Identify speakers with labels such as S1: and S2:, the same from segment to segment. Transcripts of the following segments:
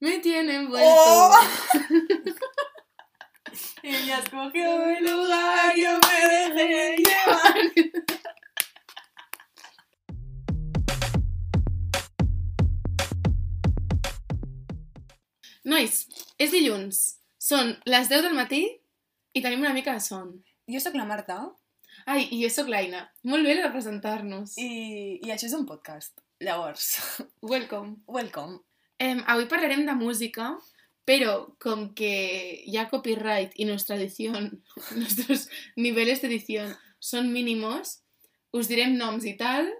S1: Me tienen vuelto.
S2: ¡Oh! Ella escogió el lugar, yo me dejé llevar.
S1: Nois, és dilluns. Són les 10 del matí i tenim una mica de son.
S2: Jo sóc la Marta
S1: Ai, i jo sóc l'Aina. Molt bé de presentar-nos. I...
S2: i, i això és un podcast. Llavors,
S1: Welcome.
S2: welcome.
S1: Em, avui parlarem de música, però com que hi ha copyright i nostra edició, nostres nivells d'edició són mínimos, us direm noms i tal,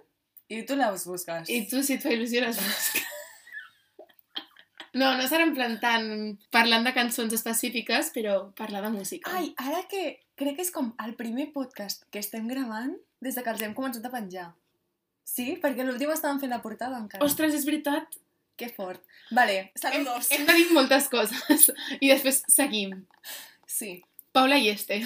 S2: I tu la us busques.
S1: i tu, si et fa il·lusió, les busques. No, no serà en plan tant parlant de cançons específiques, però parlar de música.
S2: Ai, ara que crec que és com el primer podcast que estem gravant des de que els hem començat a penjar. Sí? Perquè l'últim estàvem fent la portada encara.
S1: Ostres, és veritat,
S2: Que fort. Vale,
S1: hem,
S2: saludos.
S1: hem de dir moltes coses i després seguim.
S2: Sí,
S1: Paula y este,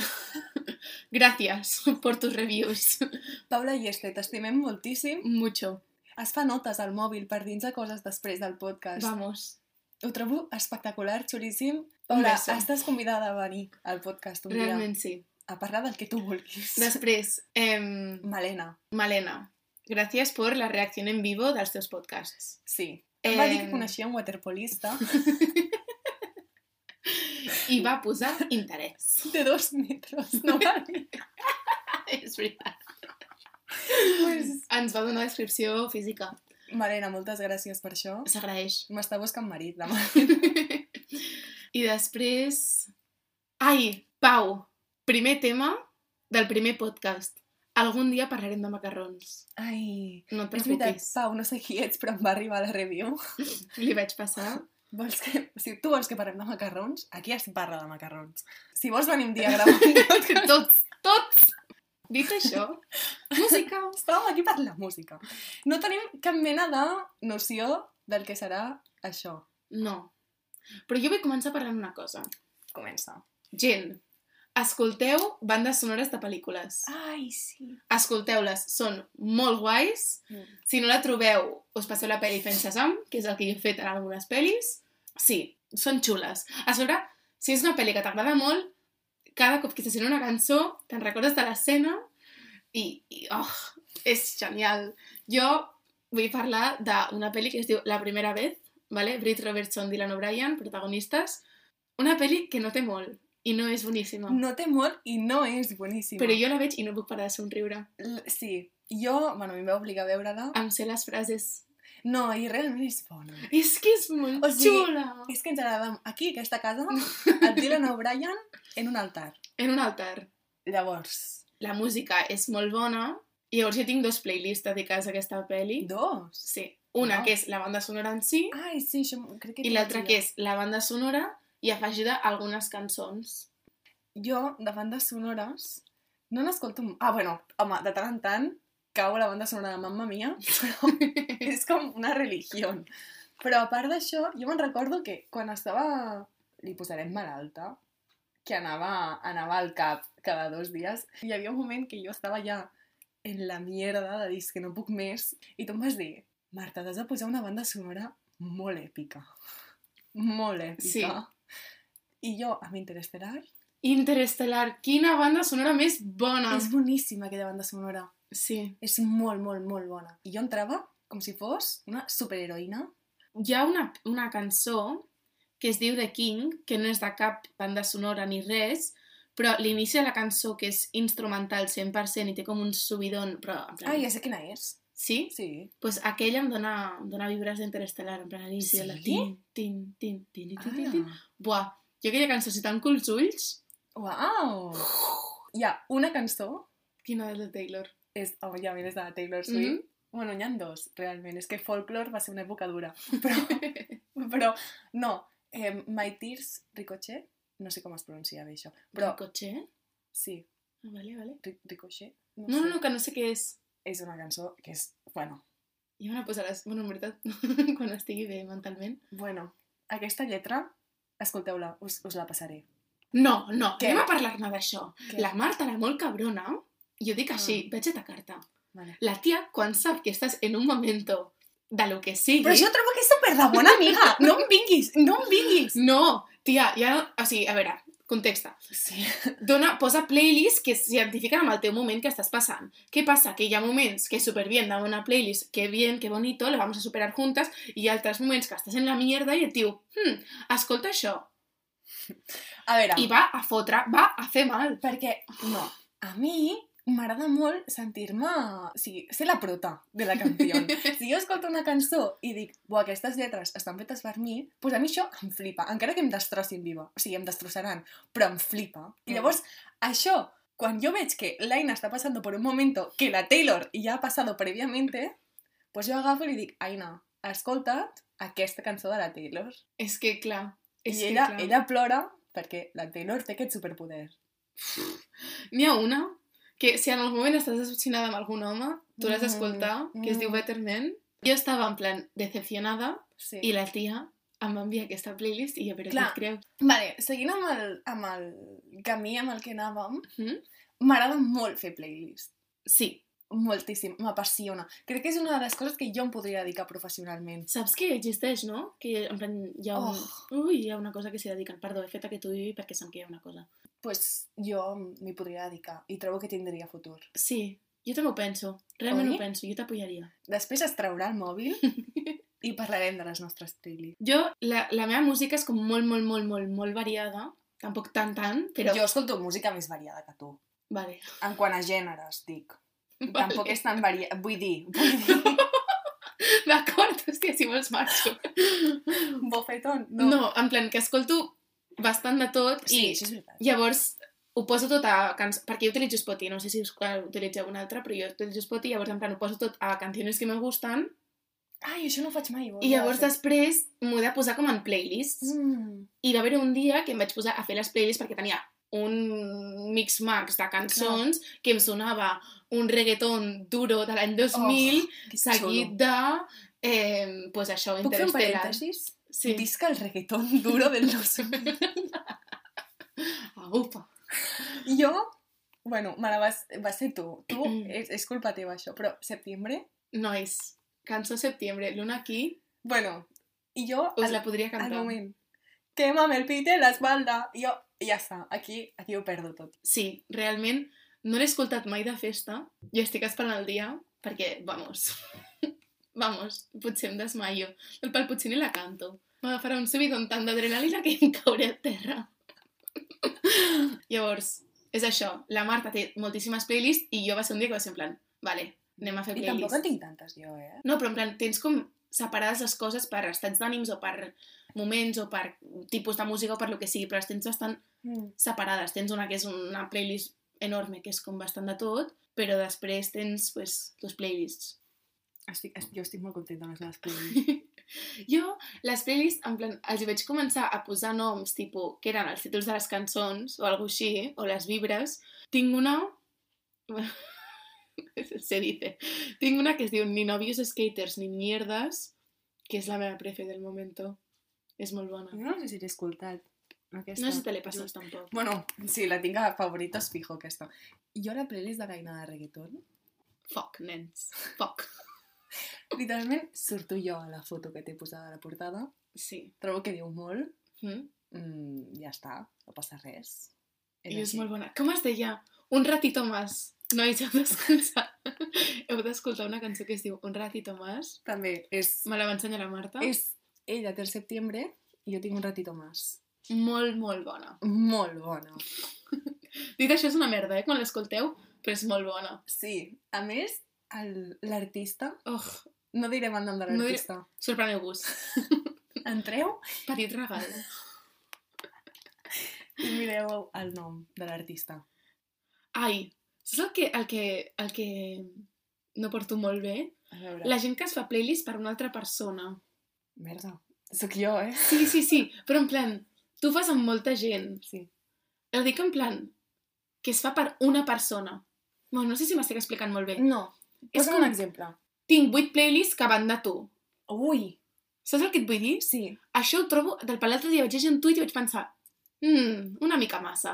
S1: gracias por tus reviews.
S2: Paula i Este, t'estimem moltíssim.
S1: Mucho.
S2: Es fa notes al mòbil per dins de coses després del podcast.
S1: Vamos.
S2: Ho trobo espectacular, xulíssim.
S1: Un
S2: Paula,
S1: beso.
S2: estàs convidada a venir al podcast un dia.
S1: Realment sí.
S2: A parlar del que tu vulguis.
S1: Després, em,
S2: Malena,
S1: Malena, gracias por la reacción en vivo dels teus podcasts.
S2: sí. Em va dir que
S1: Em.
S2: coneixia un waterpolista
S1: I va posar interès.
S2: de dos metres. No va dir.
S1: És veritat.
S2: Pues...
S1: Ens va donar descripció física.
S2: Malena, moltes gràcies per això.
S1: S'agraeix.
S2: M'està buscant marit demà.
S1: I després... Ai, Pau, primer tema del primer podcast. Algun dia parlarem de macarrons.
S2: Ai,
S1: No et
S2: és veritat,
S1: preocupis.
S2: Pau, no sé qui ets, però em va arribar la review.
S1: Li vaig passar.
S2: Vols que... Si tu vols que parlem de macarrons, aquí es parla de macarrons. Si vols venir un dia a gravar un podcast,
S1: Tots, tots! Dit això, música.
S2: estàvem aquí per la música. No tenim cap mena de noció del que serà això.
S1: No. Però jo vull començar parlant una cosa.
S2: Comença.
S1: Gent, escolteu bandes sonores de pel·lícules.
S2: Ai, sí.
S1: Escolteu-les, són molt guais.
S2: Mm.
S1: Si no la trobeu, us passeu la pel·li fent Shazam, que és el que jo he fet en algunes pel·lis. Sí, són xules. A sobre, si és una pel·li que t'agrada molt, cada cop que se sent una cançó, te'n recordes de l'escena i, i, oh, és genial. Jo vull parlar d'una pel·li que es diu La primera vez, ¿vale? Britt Robertson, Dylan O'Brien, protagonistes. Una pel·li que no té molt i no és boníssima.
S2: No té molt i no és boníssima.
S1: Però jo la veig i no puc parar de somriure.
S2: L- Sí, jo, bueno, a mi em va obligar a veure-la.
S1: Em sé les frases
S2: No, i realment és bona.
S1: És que és molt
S2: O sigui-
S1: xula.
S2: És que ens agrada aquí, aquesta casa, el Dylan O'Brien en un altar.
S1: En un altar.
S2: Llavors,
S1: La música és molt bona. I llavors jo tinc dos playlists dedicades a aquesta pel·li.
S2: dos.
S1: Sí. Una
S2: Wow. Ah,
S1: que és la banda sonora en si
S2: Ai, sí, això m- crec que...
S1: i l'altra que és la banda sonora i afegida algunes cançons.
S2: Jo, de bandes sonores, no n'escolto... m- Ah, bueno, home, de tant en tant cau la banda sonora de Mamma Mia, però és com una religió. Però a part d'això, jo me'n recordo que quan estava... Li posarem malalta, que anava, anava al cap cada dos dies. Hi havia un moment que jo estava ja en la mierda de dir "És que no puc més i tu em vas dir, Marta, t'has de posar una banda sonora molt èpica. Molt èpica. Sí. I jo, amb Interestelar,
S1: Interestelar, quina banda sonora més
S2: ah.
S1: bona!
S2: és boníssima aquella banda sonora.
S1: Sí.
S2: És molt, molt, molt bona. I jo entrava com si fos una superheroïna.
S1: Hi ha una, una cançó que es diu The King, que no és de cap banda sonora ni res, però l'inici de la cançó, que és instrumental 100% i té com un subidon, però... en plan-
S2: Ah, ja sé quina és.
S1: Sí?
S2: Sí.
S1: pues aquella em dona, em dona vibres d'Interestelar, en plan a l'inici
S2: Sí?
S1: de la tin, tin, tin, tin, tin, tin, tin.
S2: Ah.
S1: Buah, jo aquella cançó, si tanco els ulls,
S2: Uau! Hi ha una oh, cançó,
S1: quina de Taylor.
S2: és, òbviament és de la Taylor
S1: Sí. Mm
S2: Swift. Bueno, n'hi ha dos, realment. És que folklore va ser una època dura. Però, però no, eh, My Tears Ricochet, no sé com es pronuncia bé això,
S1: Però...
S2: però
S1: Cotxe, eh?
S2: sí,
S1: Ah, Vale, vale.
S2: Ri- Ricochet,
S1: No, no,
S2: sé.
S1: no, que no sé què és.
S2: És una cançó que és, bueno,
S1: Ja me la posaràs, bueno, en veritat, quan estigui bé mentalment.
S2: bueno, aquesta lletra, escolteu-la, us, us la passaré.
S1: No, no,
S2: Què?
S1: Què? anem a parlar-ne d'això.
S2: Què?
S1: La Marta era molt cabrona, i ho dic així,
S2: Ah.
S1: vaig atacar-te.
S2: Vale.
S1: La tia, quan sap que estàs en un momento de lo que sigui...
S2: Però jo trobo que és super de bona amiga. No em vinguis, no em vinguis.
S1: No, tia, ja no... O sigui, a veure, contexta.
S2: Sí.
S1: Dona, posa playlists que s'identifiquen amb el teu moment que estàs passant. Què passa? Que hi ha moments que superbien de una playlist, que bien, que bonito, la vamos a superar juntas, i hi ha altres moments que estàs en la mierda i et diu, hm, escolta això,
S2: A veure,
S1: i va a fotre, va a fer mal.
S2: perquè, no, a mi m'agrada molt sentir-me... O sigui, ser la prota de la canció. si jo escolto una cançó i dic, buah, aquestes lletres estan fetes per mi, doncs a mi això em flipa, encara que em destrossin viva. O sigui, em destrossaran, però em flipa.
S1: Mm.
S2: I llavors, això, quan jo veig que l'Aina està passant per un moment que la Taylor ja ha passat prèviament, doncs jo agafo i li dic, Aina, escolta't aquesta cançó de la Taylor.
S1: És que, clar... És
S2: I
S1: que,
S2: ella,
S1: clar.
S2: ella plora perquè la Taylor té aquest superpoder.
S1: N'hi ha una que si en algun moment estàs decepcionada amb algun home, tu l'has
S2: Mm,
S1: d'escoltar, que es diu
S2: mm.
S1: Better Men. Jo estava en plan decepcionada
S2: Sí.
S1: i la tia em va enviar aquesta playlist i jo, però què
S2: Clar.
S1: et creus?
S2: Vale, seguint amb el, amb el camí amb el que anàvem,
S1: Mhm.
S2: m'agrada molt fer playlist.
S1: Sí.
S2: Moltíssim, m'apassiona. Crec que és una de les coses que jo em podria dedicar professionalment.
S1: Saps que existeix, no? Que en plan hi ha, un...
S2: Oh.
S1: Ui, hi ha una cosa que s'hi dediquen. Perdó, he fet aquest ui perquè sap que hi ha una cosa.
S2: pues jo m'hi podria dedicar i trobo que tindria futur.
S1: Sí, jo també ho penso. Realment
S2: Oi?
S1: ho penso, jo t'apoyaria.
S2: Després es traurà el mòbil i parlarem de les nostres playlists.
S1: Jo, la, la meva música és com molt, molt, molt, molt, molt variada. Tampoc tant, tant, però...
S2: Però... Jo escolto música més variada que tu.
S1: Vale.
S2: En quant a gèneres, dic.
S1: vale.
S2: Tampoc és tan variada. Vull dir, vull dir...
S1: D'acord, hòstia, si vols marxo.
S2: Bofetón,
S1: No.
S2: no.
S1: no, en plan, que escolto bastant de tot
S2: Sí,
S1: sí.
S2: això és veritat.
S1: i llavors ho poso tot a... Can... Perquè jo utilitzo Spotify, no sé si us- clar, utilitzeu un altre, però jo utilitzo Spotify i llavors en plan ho poso tot a canciones que me gustan
S2: Ai, això no ho faig mai.
S1: i
S2: ho hauria de
S1: llavors
S2: fer.
S1: després m'ho he de posar com en playlists.
S2: Mm.
S1: I va haver un dia que em vaig posar a fer les playlists perquè tenia un mix max de cançons que em sonava un reggaeton duro de l'any 2000 oh,
S2: Que
S1: seguit de... Eh, pues això,
S2: Puc fer un
S1: Interstellar.
S2: parèntesis? Sí.
S1: Sí.
S2: Visca el reggaetón duro del los...
S1: Ah, upa.
S2: jo, bueno, me la vas, va ser tu. Tu, és, és culpa teva això, però setembre...
S1: Nois, cançó Septiembre, Luna aquí,
S2: Bueno, i jo,
S1: us
S2: al,
S1: la podria
S2: al
S1: cantar.
S2: moment, quema'm el pit en l'espalda, jo, ja està, aquí, aquí ho perdo tot.
S1: Sí, realment, no l'he escoltat mai de festa i estic esperant el dia perquè, vamos, vamos, potser em desmaio. El pal potser ni la canto. M'agafarà un subidon tant d'adrenalina que em cauré a terra. Llavors, és això. La Marta té moltíssimes playlists i jo va ser un dia que va ser en plan, vale, anem a fer
S2: I
S1: playlists.
S2: tampoc en tinc tantes, jo, eh?
S1: No, però en plan, tens com separades les coses per estats d'ànims o per moments o per tipus de música o per lo que sigui, però les tens bastant
S2: Mm.
S1: separades. Tens una que és una playlist enorme, que és com bastant de tot, però després tens, pues, dos playlists.
S2: Estic, estic, jo estic molt contenta amb les meves playlists.
S1: Jo, les playlists, en plan, els hi vaig començar a posar noms, tipus, que eren els títols de les cançons, o alguna així, o les vibres. Tinc una... Bueno, se dice. Tinc una que es diu Ni novios skaters ni mierdas, que és la meva prefe del momento. És molt bona.
S2: Jo no sé si l'he escoltat. Aquesta.
S1: No sé si te l'he passat tampoc.
S2: Bueno, sí, la tinc a favoritos fijo, aquesta. Jo la playlist de l'Aina de reggaeton
S1: Fuck, nens. Fuck.
S2: Literalment, surto jo a la foto que t'he posada a la portada.
S1: Sí.
S2: Trobo que diu molt.
S1: Mm?
S2: Mm, ja està, no passa res.
S1: I és molt bona. Com es deia? Un ratito más. Nois, heu d'escoltar. heu d'escoltar una cançó que es diu Un ratito más.
S2: També és...
S1: Me la va ensenyar la Marta.
S2: És ella té el setembre i jo tinc un ratito más.
S1: molt, molt bona.
S2: Molt bona.
S1: Dit això, és una merda, eh, quan l'escolteu, però és molt bona.
S2: Sí, a més, el- l'artista...
S1: Oh,
S2: No direm el nom de
S1: No diré-
S2: l'artista.
S1: sorpreneu-vos.
S2: Entreu
S1: Petit regal.
S2: i mireu el nom de l'artista.
S1: Ai, saps el que, el que, el que no porto molt bé?
S2: A veure...
S1: La gent que es fa playlist per una altra persona.
S2: Merda. Sóc jo, eh?
S1: Sí, sí, sí, però en plan, tu ho fas amb molta gent.
S2: Sí.
S1: Ho dic en plan, que es fa per una persona. Bueno, no sé si m'estic explicant molt bé.
S2: No.
S1: És
S2: Mm, Posa'm
S1: com-
S2: un exemple.
S1: Tinc vuit playlists que van de tu.
S2: Ui!
S1: Saps el que et vull dir?
S2: Sí.
S1: Això ho trobo... Del per l'altre dia vaig llegir un tuit i vaig pensar... Mmm, una mica massa.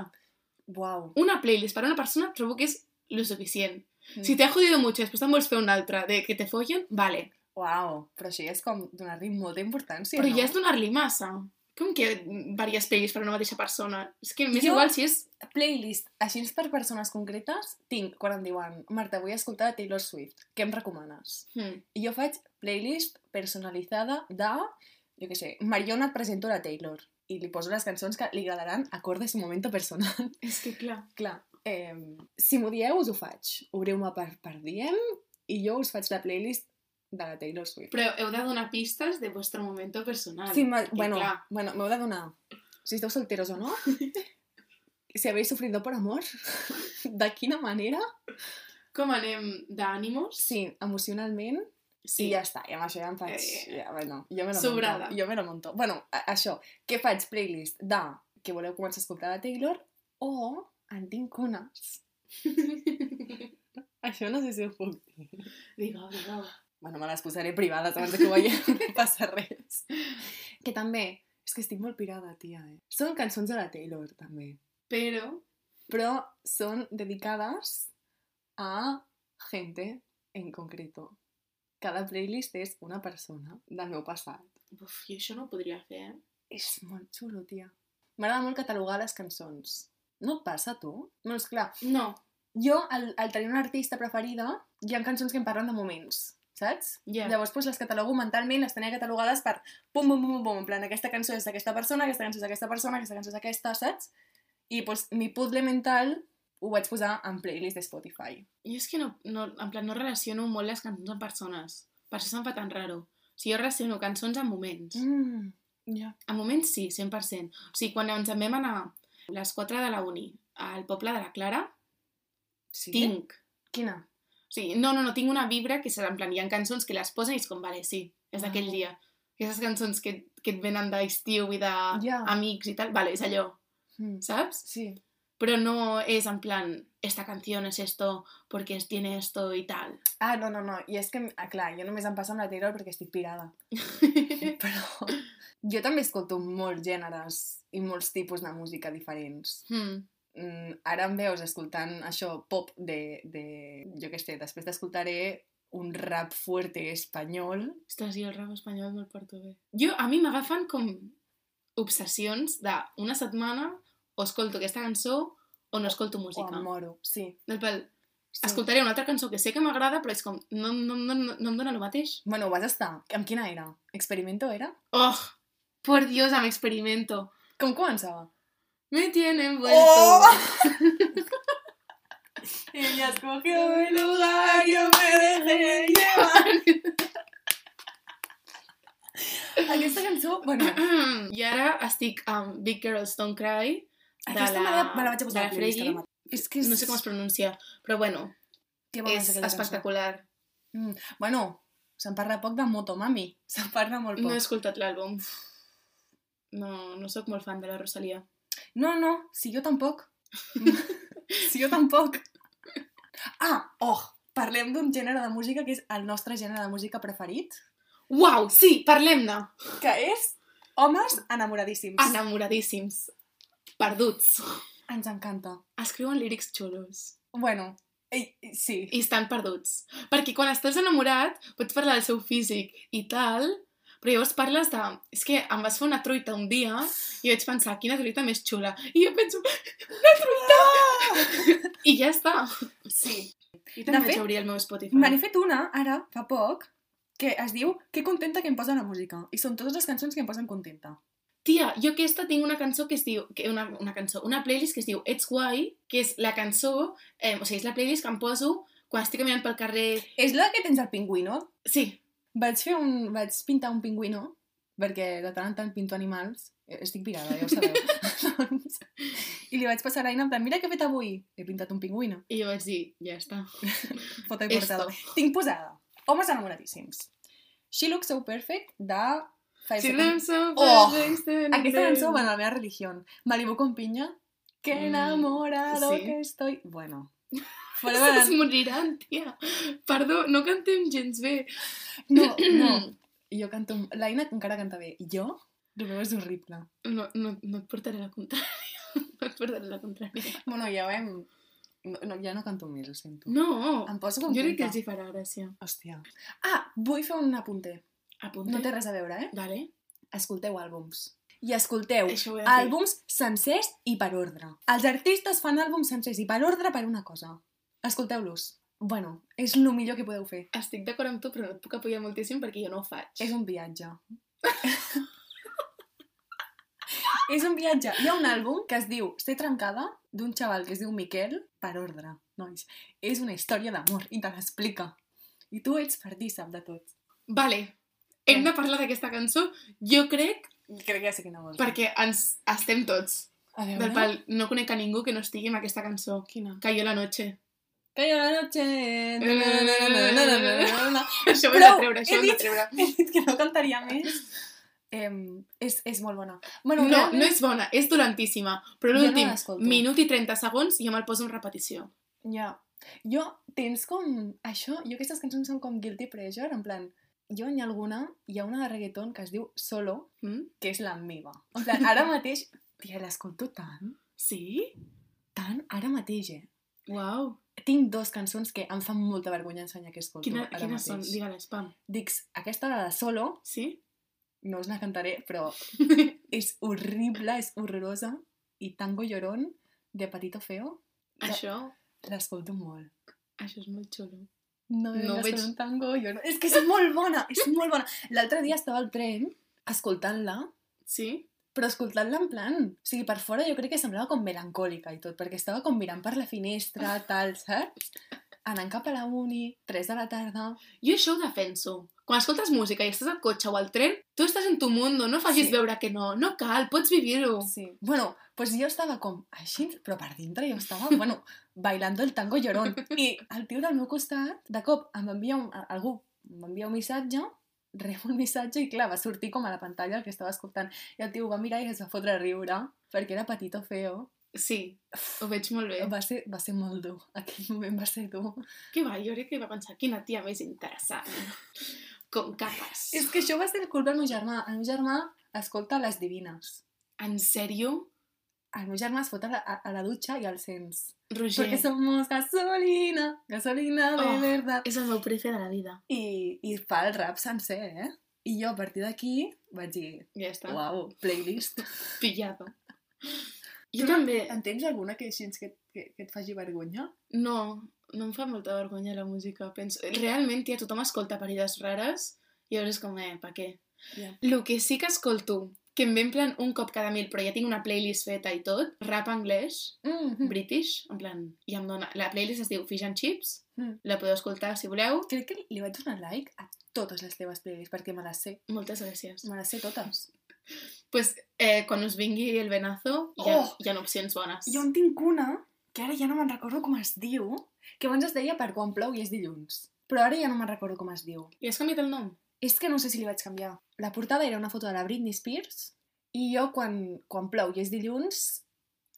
S2: Uau.
S1: una playlist para una persona trobo que es lo suficient.
S2: Mm.
S1: Si te ha jodido mucho y después te'n vols fer una altra de que te follen, vale.
S2: Uau, però això ja és com donar-li molta importància,
S1: Però
S2: no?
S1: ja és donar-li massa. Com que diverses pel·lis per una mateixa persona? És que m'és
S2: Jo-
S1: igual si és...
S2: Playlist, així per persones concretes, tinc quan em diuen Marta, vull escoltar Taylor Swift, què em recomanes?
S1: Hmm.
S2: I jo faig playlist personalitzada de, jo què sé, Mariona et presento la Taylor i li poso les cançons que li agradaran acorde a su moment personal.
S1: És que clar.
S2: Clar, eh, si m'ho dieu us ho faig. Obriu-me per, per DM i jo us faig la playlist de la Taylor Swift.
S1: Però heu de donar pistes de vostre moment personal.
S2: Sí, ma...
S1: perquè,
S2: bueno,
S1: Ah, clar.
S2: bueno, m'heu de donar. Si esteu solteros o no, si habéis sufrido por amor, de quina manera?
S1: Com anem d'ànimos?
S2: Sí, emocionalment, sí. i ja està. I amb això ja em faig...
S1: Eh,
S2: Ja, bueno, jo me lo
S1: sobrada.
S2: monto. Jo me lo monto. Bueno, a- això, què faig? Playlist de que voleu començar a escoltar de Taylor o en tinc unes. Això no sé si ho puc dir.
S1: Digue-ho, digue-ho.
S2: Bueno, me les posaré privades abans de que ho veieu, no passa res. Que també, és que estic molt pirada, tia, eh? Són cançons de la Taylor, també.
S1: Però,
S2: Però són dedicades a gente en concreto. Cada playlist és una persona del meu passat.
S1: uf, jo això no ho podria fer, eh?
S2: És molt xulo, tia. M'agrada molt catalogar les cançons. No et passa, a tu? Bueno, esclar,
S1: No,
S2: jo, al, al tenir una artista preferida, hi ha cançons que em parlen de moments, saps?
S1: ja.
S2: Llavors, doncs, les catalogo mentalment, les tenia catalogades per pum, pum, pum, pum, pum, en plan, aquesta cançó és d'aquesta persona, aquesta cançó és d'aquesta persona, aquesta cançó és d'aquesta, saps? I, doncs, mi puzzle mental ho vaig posar en playlist de Spotify.
S1: Jo és que no, no, en plan, no relaciono molt les cançons amb persones. Per això se'm fa tan raro. O sigui, jo relaciono cançons amb moments.
S2: Mm, ja.
S1: En moments sí, 100%. O sigui, quan ens en vam anar a les 4 de la uni al poble de la Clara,
S2: Sí?
S1: tinc...
S2: Quina?
S1: O sigui, no, no, no, tinc una vibra que serà en plan, hi ha cançons que les posen i és com, vale, sí, és d'aquell
S2: Ah.
S1: dia. Aquestes cançons que, que et venen d'estiu i
S2: Ja.
S1: d'amics i tal, vale, és allò,
S2: Mm.
S1: saps?
S2: Sí.
S1: Però no és en plan, esta canción es esto porque tiene esto i tal.
S2: Ah, no, no, no. I és que, ah, clar, jo només em passa amb la Taylor perquè estic pirada. Però jo també escolto molts gèneres i molts tipus de música diferents.
S1: hmm.
S2: mm, ara em veus escoltant això pop de, de jo què sé, després t'escoltaré un rap fuerte espanyol.
S1: Ostres, jo el rap espanyol no el porto bé. Jo, a mi m'agafen com obsessions d'una setmana o escolto aquesta cançó o no escolto
S2: O
S1: música.
S2: em moro, sí.
S1: Del pal,
S2: sí.
S1: escoltaré una altra cançó que sé que m'agrada, però és com, no, no, no, no, no em dóna el mateix.
S2: Bueno, ho vas estar. Amb quina era? Experimento era?
S1: Oh, por Dios, amb experimento.
S2: Com començava?
S1: Me tienen vuelto.
S2: Ella escogió el lugar, yo me dejé llevar. Aquesta cançó, bueno,
S1: I ara estic amb um, Big Girls Don't Cry, de
S2: aquesta me,
S1: la,
S2: la, me la vaig a
S1: de
S2: posar a
S1: la
S2: la playlist.
S1: Fregui.
S2: ara mateix. És que és...
S1: No sé com es pronuncia, però bueno,
S2: Què bona
S1: és
S2: aquella cançó.
S1: espectacular.
S2: Bueno, se'n parla poc de Motomami. Se'n parla molt poc.
S1: No he escoltat l'àlbum. No, no sóc molt fan de la Rosalia.
S2: No, no, si jo tampoc. si jo tampoc. Ah, oh, parlem d'un gènere de música que és el nostre gènere de música preferit,
S1: Uau, sí, parlem-ne!
S2: que és homes enamoradíssims.
S1: Enamoradíssims. Perduts.
S2: Ens encanta.
S1: Escriuen lírics xulos.
S2: Bueno, ei, ei, sí.
S1: I estan perduts. Perquè quan estàs enamorat pots parlar del seu físic i tal, però llavors parles de... És que em vas fer una truita un dia i vaig pensar, quina truita més xula. I jo penso, i ja està.
S2: Sí.
S1: I
S2: De
S1: també vaig
S2: fet,
S1: obrir el meu Spotify.
S2: Me n'he fet una, ara, fa poc, que es diu Que contenta que em posa la música. I són totes les cançons que em posen contenta.
S1: Tia, jo aquesta tinc una cançó que es diu... Que una, una cançó, una playlist que es diu Ets guai, que és la cançó... Eh, o sigui, és la playlist que em poso quan estic caminant pel carrer...
S2: És la que tens el pingüino?
S1: Sí,
S2: Vaig fer un... Vaig pintar un pingüino, perquè de tant en tant pinto animals. Eh, Estic pirada, ja ho sabeu. doncs, I li vaig passar a l'Aina en plan, mira què he fet avui. He pintat un pingüino.
S1: i jo vaig dir, ja està.
S2: Foto i
S1: Esto.
S2: portada. Tinc posada. Homes enamoradíssims. She looks so perfect de... Five
S1: Si no
S2: Seconds.
S1: som
S2: Oh,
S1: perfectes,
S2: Aquesta
S1: no-
S2: cançó, bueno, la meva religió. Malibu con piña. Que
S1: Mm,
S2: enamorado
S1: sí.
S2: que estoy. Bueno.
S1: Se'ns moriran, tia. Perdó, no cantem gens bé.
S2: No, no. Jo canto... L'Aina encara canta bé. Jo? El meu és horrible.
S1: No, no, no et portaré la contrària. No et portaré la contrària.
S2: Bueno, ja ho hem... No, no, ja no canto més, ho sento.
S1: No,
S2: Em poso
S1: jo crec que
S2: contenta.
S1: els hi farà gràcia.
S2: Hòstia. Ah, vull fer un apunter.
S1: Apunta.
S2: No té res a veure, eh?
S1: Vale.
S2: Escolteu àlbums. I escolteu
S1: Això ho he de fer.
S2: àlbums sencers i per ordre. Els artistes fan àlbums sencers i per ordre per una cosa. Escolteu-los. Bueno, és el millor que podeu fer.
S1: Estic d'acord amb tu, però no et puc apoyar moltíssim perquè jo no ho faig.
S2: És un viatge. és un viatge. Hi ha un àlbum que es diu Ser trencada, d'un xaval que es diu Miquel, per ordre, nois. És una història d'amor i te l'explica. I tu ets partícip de tot.
S1: Vale. Hem de parlar d'aquesta cançó, jo crec,
S2: Crec que ja sé quina vols. dir.
S1: perquè ens estem tots.
S2: A veure...
S1: Del pal, no conec a ningú que no estigui amb aquesta cançó.
S2: Quina?
S1: Cayó la noche.
S2: Calla la noche.
S1: Eh. Això ho hem de
S2: Prou!
S1: treure, això
S2: He
S1: ho hem de
S2: dit-
S1: treure.
S2: He dit que no cantaria més. Em, és, és molt bona. Bueno,
S1: No, no és bona, és dolentíssima. Però
S2: Jo no
S1: l'últim
S2: l'escolto.
S1: minut i 30 segons jo me'l poso en repetició.
S2: Ja. Jo, tens com... Això, jo aquestes cançons són com guilty pleasure, en plan... Jo n'hi ha alguna, hi ha una de reggaeton que es diu Solo,
S1: Mm?
S2: que és la meva. En plan, ara mateix... Tia, l'escolto tant,
S1: Sí?
S2: tant, ara mateix, eh?
S1: Uau.
S2: Tinc dues cançons que em fan molta vergonya ensenyar que escolto
S1: Quina,
S2: ara
S1: quines
S2: mateix.
S1: són? Digue-les, pam.
S2: Dic, aquesta de Solo,
S1: Sí?
S2: no us la cantaré, però és horrible, és horrorosa. I Tango Llorón, de Patito Feo, Ja.
S1: Això,
S2: l'escolto molt.
S1: això és molt xulo.
S2: No,
S1: No
S2: no veig...
S1: veig-
S2: un tango llorón. És que és molt bona, és molt bona. L'altre dia estava al tren escoltant-la,
S1: Sí?
S2: però escoltant-la en plan... O sigui, per fora jo crec que semblava com melancòlica i tot, perquè estava com mirant per la finestra, tal, saps? Anant cap a la uni, 3 de la tarda...
S1: Jo això ho defenso. Quan escoltes música i estàs al cotxe o al tren, tu estàs en tu mundo, no facis
S2: Sí.
S1: veure que no. No cal, pots vivir-ho.
S2: Sí. Bueno, pues jo estava com així, però per dintre jo estava, bueno, bailando el tango llorón. I el tio del meu costat, de cop, em va enviar un, a- algú m'envia un missatge, rebo un missatge i clar, va sortir com a la pantalla el que estava escoltant. I el tio ho va mirar i es va fotre a riure, perquè era petito feo.
S1: Sí, ho veig molt bé.
S2: Va ser, va ser molt dur, aquell moment va ser dur.
S1: Què va? Jo crec que va pensar, quina tia més interessant. Com capes.
S2: És que això va ser el culpa del meu germà. El meu germà escolta les divines.
S1: En sèrio?
S2: El meu germà es fot a la, a, a la dutxa i al sents.
S1: Roger,
S2: Porque somos gasolina, gasolina de
S1: Oh.
S2: verdad.
S1: és el meu prefe de la vida.
S2: I, i fa el rap sencer, eh? I jo a partir d'aquí vaig dir,
S1: Ja està. Wow.
S2: uau, playlist.
S1: Pillado. Jo també...
S2: En tens alguna que així que, que, que et faci vergonya?
S1: No, no em fa molta vergonya la música. Penso... Realment, tia, tothom escolta parides rares i llavors és com, eh, pa què?
S2: Ja.
S1: El que sí que escolto, que em ve en plan un cop cada mil, però ja tinc una playlist feta i tot, rap anglès,
S2: Mm -hmm.
S1: british, en plan, ja em dona... La playlist es diu Fish and Chips,
S2: Mm.
S1: la podeu escoltar si voleu.
S2: Crec que li vaig donar like a totes les teves playlists, perquè me les sé.
S1: Moltes gràcies.
S2: Me les sé totes.
S1: pues, eh, quan us vingui el venazo, hi ha,
S2: Oh!
S1: hi ha opcions bones.
S2: Jo en tinc una, que ara ja no me'n recordo com es diu, que abans es deia per quan plou i és dilluns. Però ara ja no me'n recordo com es diu.
S1: Li has canviat el nom?
S2: És que no sé si li vaig canviar. La portada era una foto de la Britney Spears i jo quan, quan plou i és dilluns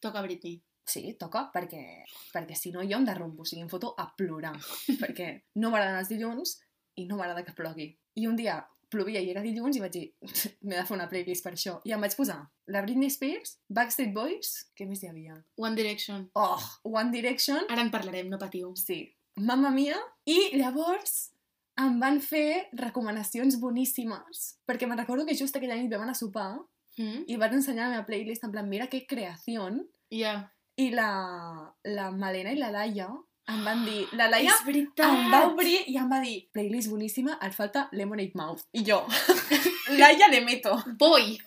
S1: Toca Britney.
S2: Sí, toca, perquè, perquè si no jo em derrumbo, o sigui, em foto a plorar, perquè no m'agraden els dilluns i no m'agrada que plogui. I un dia plovia i era dilluns i vaig dir, m'he de fer una playlist per això. I em vaig posar la Britney Spears, Backstreet Boys, què més hi havia?
S1: One Direction.
S2: Oh, One Direction,
S1: Ara en parlarem, no patiu.
S2: sí, Mamma Mia, i llavors em van fer recomanacions boníssimes, perquè me'n recordo que just aquella nit vam anar a sopar
S1: Mm?
S2: i van ensenyar la meva playlist en plan, mira que creació,
S1: Ja.
S2: i la, la Malena i la Laia em van dir... La Laia
S1: És veritat!
S2: em va obrir i em va dir playlist boníssima, et falta Lemonade Mouth. I jo, Laia le meto.
S1: Voy!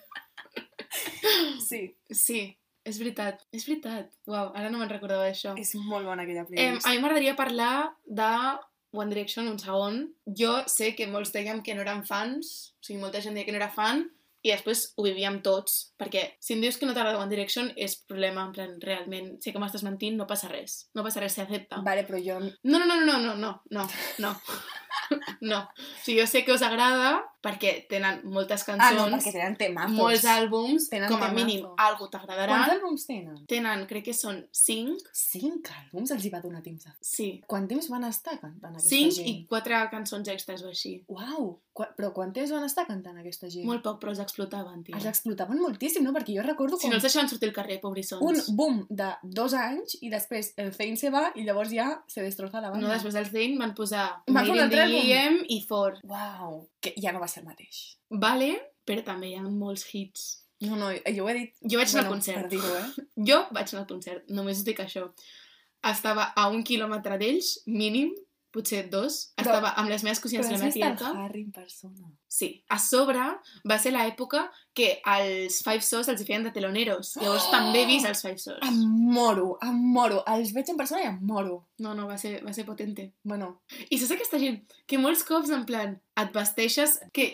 S2: Sí,
S1: Sí, és veritat, és veritat. Uau, ara no me'n recordava d'això.
S2: és molt bona aquella
S1: Eh, a mi m'agradaria parlar de One Direction un segon. Jo sé que molts dèiem que no eren fans, o sigui, molta gent deia que no era fan, i després ho vivíem tots, perquè si em dius que no t'agrada One Direction és problema, en plan, realment, sé que m'estàs mentint, no passa res. No passa res, s'accepta.
S2: Vale, però jo...
S1: No, no, no, no, no, no, no, no, no. No. O sigui, jo sé que us agrada, perquè tenen moltes
S2: Ah, no,
S1: cançons,
S2: perquè tenen temazos.
S1: molts àlbums,
S2: Tenen
S1: com a
S2: temazos.
S1: mínim algo t'agradarà.
S2: Quants àlbums tenen?
S1: Tenen, crec que són 5,
S2: Cinc àlbums els hi va donar temps a fer.
S1: sí,
S2: Quant temps van estar cantant aquesta
S1: 5
S2: gent?
S1: i 4 cançons extres o així.
S2: Uau! Qua... Però quant temps van estar cantant aquesta gent?
S1: Molt poc, però els explotaven, tio.
S2: Els explotaven moltíssim, no? Perquè jo recordo
S1: Si
S2: com
S1: no els deixaven sortir al carrer, pobrissons.
S2: un boom de dos anys i després el Zane se va i llavors ja se destroza la banda.
S1: No, després dels Dane van posar
S2: Van fer
S1: Made
S2: un
S1: in
S2: altre
S1: the
S2: àlbum.
S1: EM i Ford.
S2: Uau! Que ja no va ser el mateix.
S1: Vale, però també hi ha molts hits.
S2: No, no, eh, jo ho he dit...
S1: Jo vaig anar al
S2: Per
S1: concert.
S2: dir-ho, eh?
S1: Jo vaig anar al concert, només us dic això. Estava a un quilòmetre d'ells, mínim, potser dos.
S2: Però-
S1: Estava amb les meves
S2: Però
S1: cosines i
S2: has
S1: la meva
S2: vist el
S1: tieta.
S2: Harry en persona.
S1: Sí. A sobre va ser l'època que als Five Sos els hi feien de teloneros. Llavors
S2: Oh!
S1: també he vist els Five Sos.
S2: Em moro, em moro. Els veig en persona i em moro.
S1: No, no, va ser, va ser potente.
S2: Bueno,
S1: I saps aquesta gent que molts cops, en plan, et vesteixes... Que,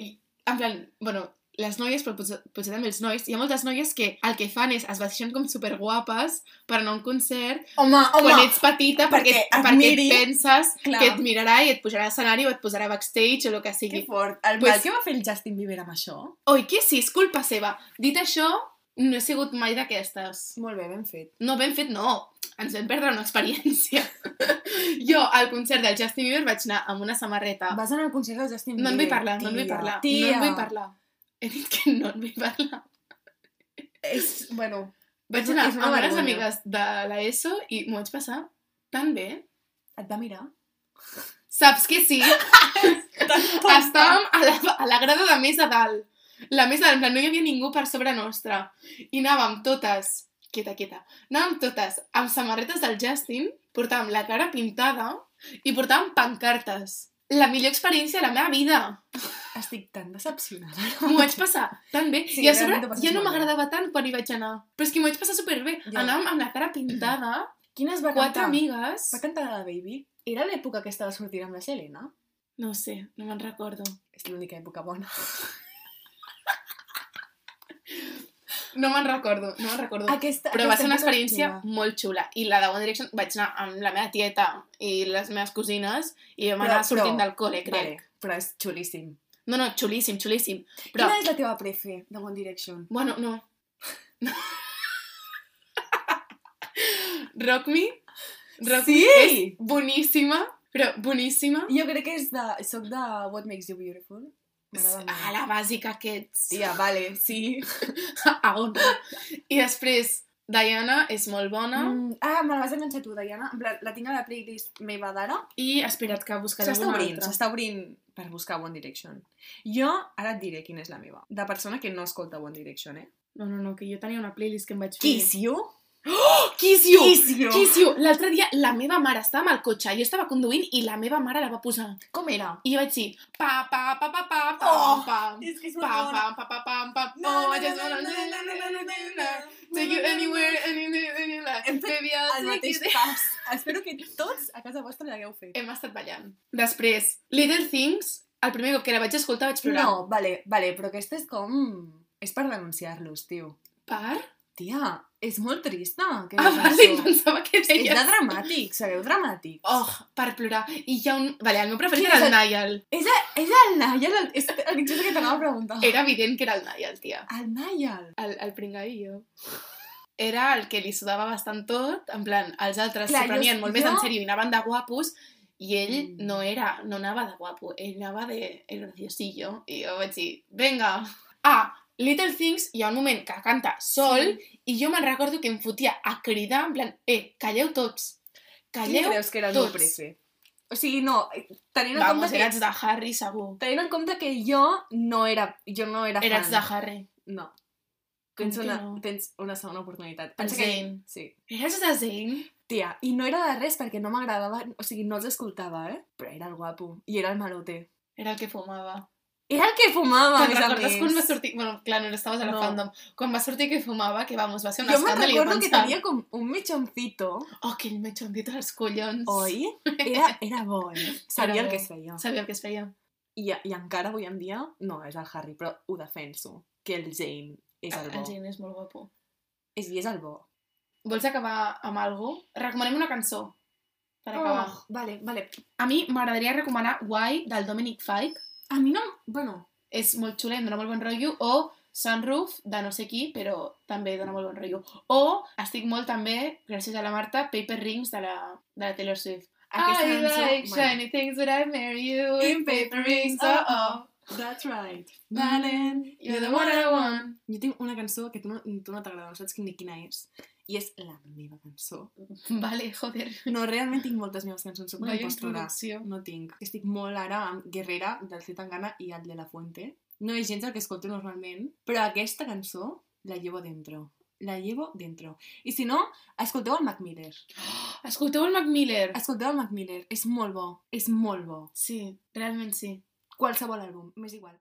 S1: en plan, bueno, les noies, però potser, potser també els nois, hi ha moltes noies que el que fan és es vesteixen com superguapes per anar a un concert
S2: Home, home!
S1: quan ets petita perquè,
S2: perquè
S1: perquè,
S2: et miri.
S1: penses
S2: Clar.
S1: que et mirarà i et pujarà a l'escenari o et posarà backstage o el que
S2: Que
S1: sigui.
S2: fort. El
S1: Pues-
S2: mal que va fer el Justin Bieber amb això...
S1: Oi, que sí, és culpa seva. Dit això, no he sigut mai d'aquestes.
S2: Molt bé, ben fet.
S1: No, ben fet no. Ens vam perdre una experiència. jo, al concert del Justin Bieber, vaig anar amb una samarreta
S2: Vas anar al concert del Justin
S1: Ah. No
S2: Bieber.
S1: en vull parlar, no en vull
S2: tia,
S1: parlar.
S2: Tia.
S1: No en vull parlar. He dit que no en vull parlar.
S2: És, bueno,
S1: Vaig
S2: És-
S1: anar
S2: és una
S1: amb unes
S2: vergonya.
S1: amigues de l'ESO i m'ho vaig passar tan bé.
S2: et va mirar.
S1: Saps que sí? Estàvem a la, a la grada de més a dalt. La més a dalt, en plan, no hi havia ningú per sobre nostra. I anàvem totes, quieta, quieta, anàvem totes amb samarretes del Justin, portàvem la cara pintada i portàvem pancartes. La millor experiència de la meva vida.
S2: Estic tan decepcionada.
S1: M'ho vaig passar tan bé.
S2: Sí,
S1: Sí, I a sobre
S2: realment t'ho passes
S1: ja no
S2: molt bé.
S1: m'agradava tant quan hi vaig anar. Però és que m'ho vaig passar superbé.
S2: Ja.
S1: Ja. Anàvem amb la cara pintada,
S2: Quines va
S1: quatre
S2: cantar?
S1: amigues...
S2: Va cantar la Baby? Era l'època que estava sortint amb la Selena?
S1: No ho sé, no me'n recordo.
S2: És l'única època bona.
S1: No me'n recordo, no me'n recordo.
S2: Aquesta,
S1: Però
S2: aquesta
S1: va ser una
S2: època
S1: experiència
S2: xula.
S1: molt xula. I la de One Direction vaig anar amb la meva tieta i les meves cosines i vam
S2: Però-
S1: anar sortint
S2: però-
S1: del col·le, crec.
S2: Vale, però és xulíssim.
S1: No, no, xulíssim, xulíssim.
S2: Però...
S1: Però,
S2: Quina és la teva prefe de One Direction?
S1: bueno, no. Rock Me. Rock
S2: Sí!
S1: Me és boníssima, però boníssima.
S2: Jo crec que és de... Soc de What Makes You Beautiful. M'agrada molt.
S1: A la bàsica que ets.
S2: Tia, vale, sí.
S1: A on? I després, Diana és molt bona mm.
S2: Mm, ah, me la vas enganxar tu, Diana. En plan, La tinc a la playlist meva d'ara.
S1: i espera't que buscaré
S2: S'està
S1: alguna
S2: obrint,
S1: altra.
S2: s'està obrint per buscar One Direction. Jo ara et diré quina és la meva. De persona que no escolta One Direction, eh?
S1: No, no, no, que jo tenia una playlist que em vaig fer.
S2: Kiss You?
S1: Oh, Kiss You! Kiss
S2: Kiss You!
S1: you! Kiss you! L'altre dia la meva mare estava amb el cotxe, jo estava conduint i la meva mare la va posar.
S2: Com era?
S1: I jo vaig dir pa pa pa pa pa pa
S2: Oh!
S1: pa
S2: És que és
S1: pa pa pa pa pa pa oh, I just wanna take you anywhere, anywhere, anywhere.
S2: Hem fet
S1: Baby, I'll
S2: El
S1: take
S2: mateix
S1: you there.
S2: pas. Ah, Espero que tots a casa vostra l'hagueu fet.
S1: Hem estat ballant. Després, Little Things, el primer cop que la vaig escoltar vaig plorar.
S2: No, vale, vale, però aquesta és com... És per denunciar-los, tio.
S1: Per?
S2: Tia, és molt trista. Que
S1: Ah,
S2: dius
S1: vale,
S2: això.
S1: pensava que
S2: És de
S1: deies...
S2: dramàtic, sabeu, dramàtic.
S1: Oh, per plorar. I hi ha un... Vale, el meu preferit
S2: Quin
S1: era
S2: és
S1: el Niall.
S2: És, a, és el Nayal, el, és el pitjor que t'anava a preguntar.
S1: Era evident que era el Niall, tia.
S2: El Nayal.
S1: El, el pringaillo. Era el que li sudava bastant tot, en plan, els altres
S2: Clar,
S1: s'ho prenien
S2: jo-
S1: molt més en
S2: jo-
S1: sèrio i anaven de guapos, i ell
S2: Mm.
S1: no era, no anava de guapo, ell anava de el graciosillo, i jo vaig dir, venga. Ah, Little Things, hi ha un moment que canta sol, i jo me'n recordo que em fotia a cridar, en plan, eh, calleu tots,
S2: Quin
S1: calleu
S2: creus que era el meu
S1: tots.
S2: prefe? O sigui, no, tenint en,
S1: Vamos,
S2: compte que,
S1: eres de Harry, segur.
S2: tenint en compte que jo no era, jo no era
S1: Eres de
S2: fan.
S1: Harry.
S2: No.
S1: Com
S2: Tens
S1: que
S2: una,
S1: no?
S2: tens una segona oportunitat.
S1: El
S2: Pensa que-
S1: Zayn.
S2: Sí.
S1: Eres de Zane?
S2: Tia, i no era de res perquè no m'agradava, o sigui, no els escoltava, eh? Però era el guapo. I era el malote.
S1: Era el que fumava.
S2: Era el que fumava,
S1: Te'n
S2: més a
S1: recordes
S2: més.
S1: quan va sortir... Bueno, clar, no estaves a la
S2: No.
S1: fandom. Quan va sortir que fumava, que vamos, va ser un
S2: Jo me'n
S1: escàndal i
S2: recordo
S1: jo
S2: que
S1: pensant...
S2: tenia com un mechoncito,
S1: Oh, aquell mechondito als collons.
S2: oi? Era, era bo, eh? Sabia
S1: Era
S2: el
S1: bo.
S2: que es feia.
S1: Sabia el que es feia.
S2: I, I encara avui en dia, no, és el Harry, però ho defenso, que el Zane és el bo.
S1: El Jane és molt guapo.
S2: És, I és el bo.
S1: Vols acabar amb algo? Recomanem una cançó. Per acabar.
S2: Oh, vale, vale.
S1: A mi m'agradaria recomanar Why, del Dominic Fike.
S2: A mi no... Bueno,
S1: és molt xula i em dona molt bon rotllo, o Sunroof, de no sé qui, però també dona molt bon rotllo. O estic molt també, gràcies a la Marta, Paper Rings de la, de la Taylor Swift.
S2: Aquesta
S1: I
S2: cançó,
S1: like
S2: bueno.
S1: shiny things but I marry you in paper rings, oh oh.
S2: That's right.
S1: Darling, You're the one I want.
S2: Jo tinc una cançó que tu no, tu no t'agrada, no saps ni quina és. I és la meva cançó.
S1: Vale, joder.
S2: No, realment tinc moltes meves cançons, soc una
S1: Vaya
S2: impostora.
S1: introducció.
S2: No tinc. Estic molt ara amb Guerrera, del C. Tangana i el de la Fuente. No és gens el que escolto normalment, però aquesta cançó la llevo dentro. La llevo dentro. I si no, escolteu el Mac Miller.
S1: Escolteu el Mac Miller.
S2: Escolteu el Mac Miller. És molt bo. És molt bo.
S1: Sí, realment sí.
S2: Qualsevol àlbum. M'és igual.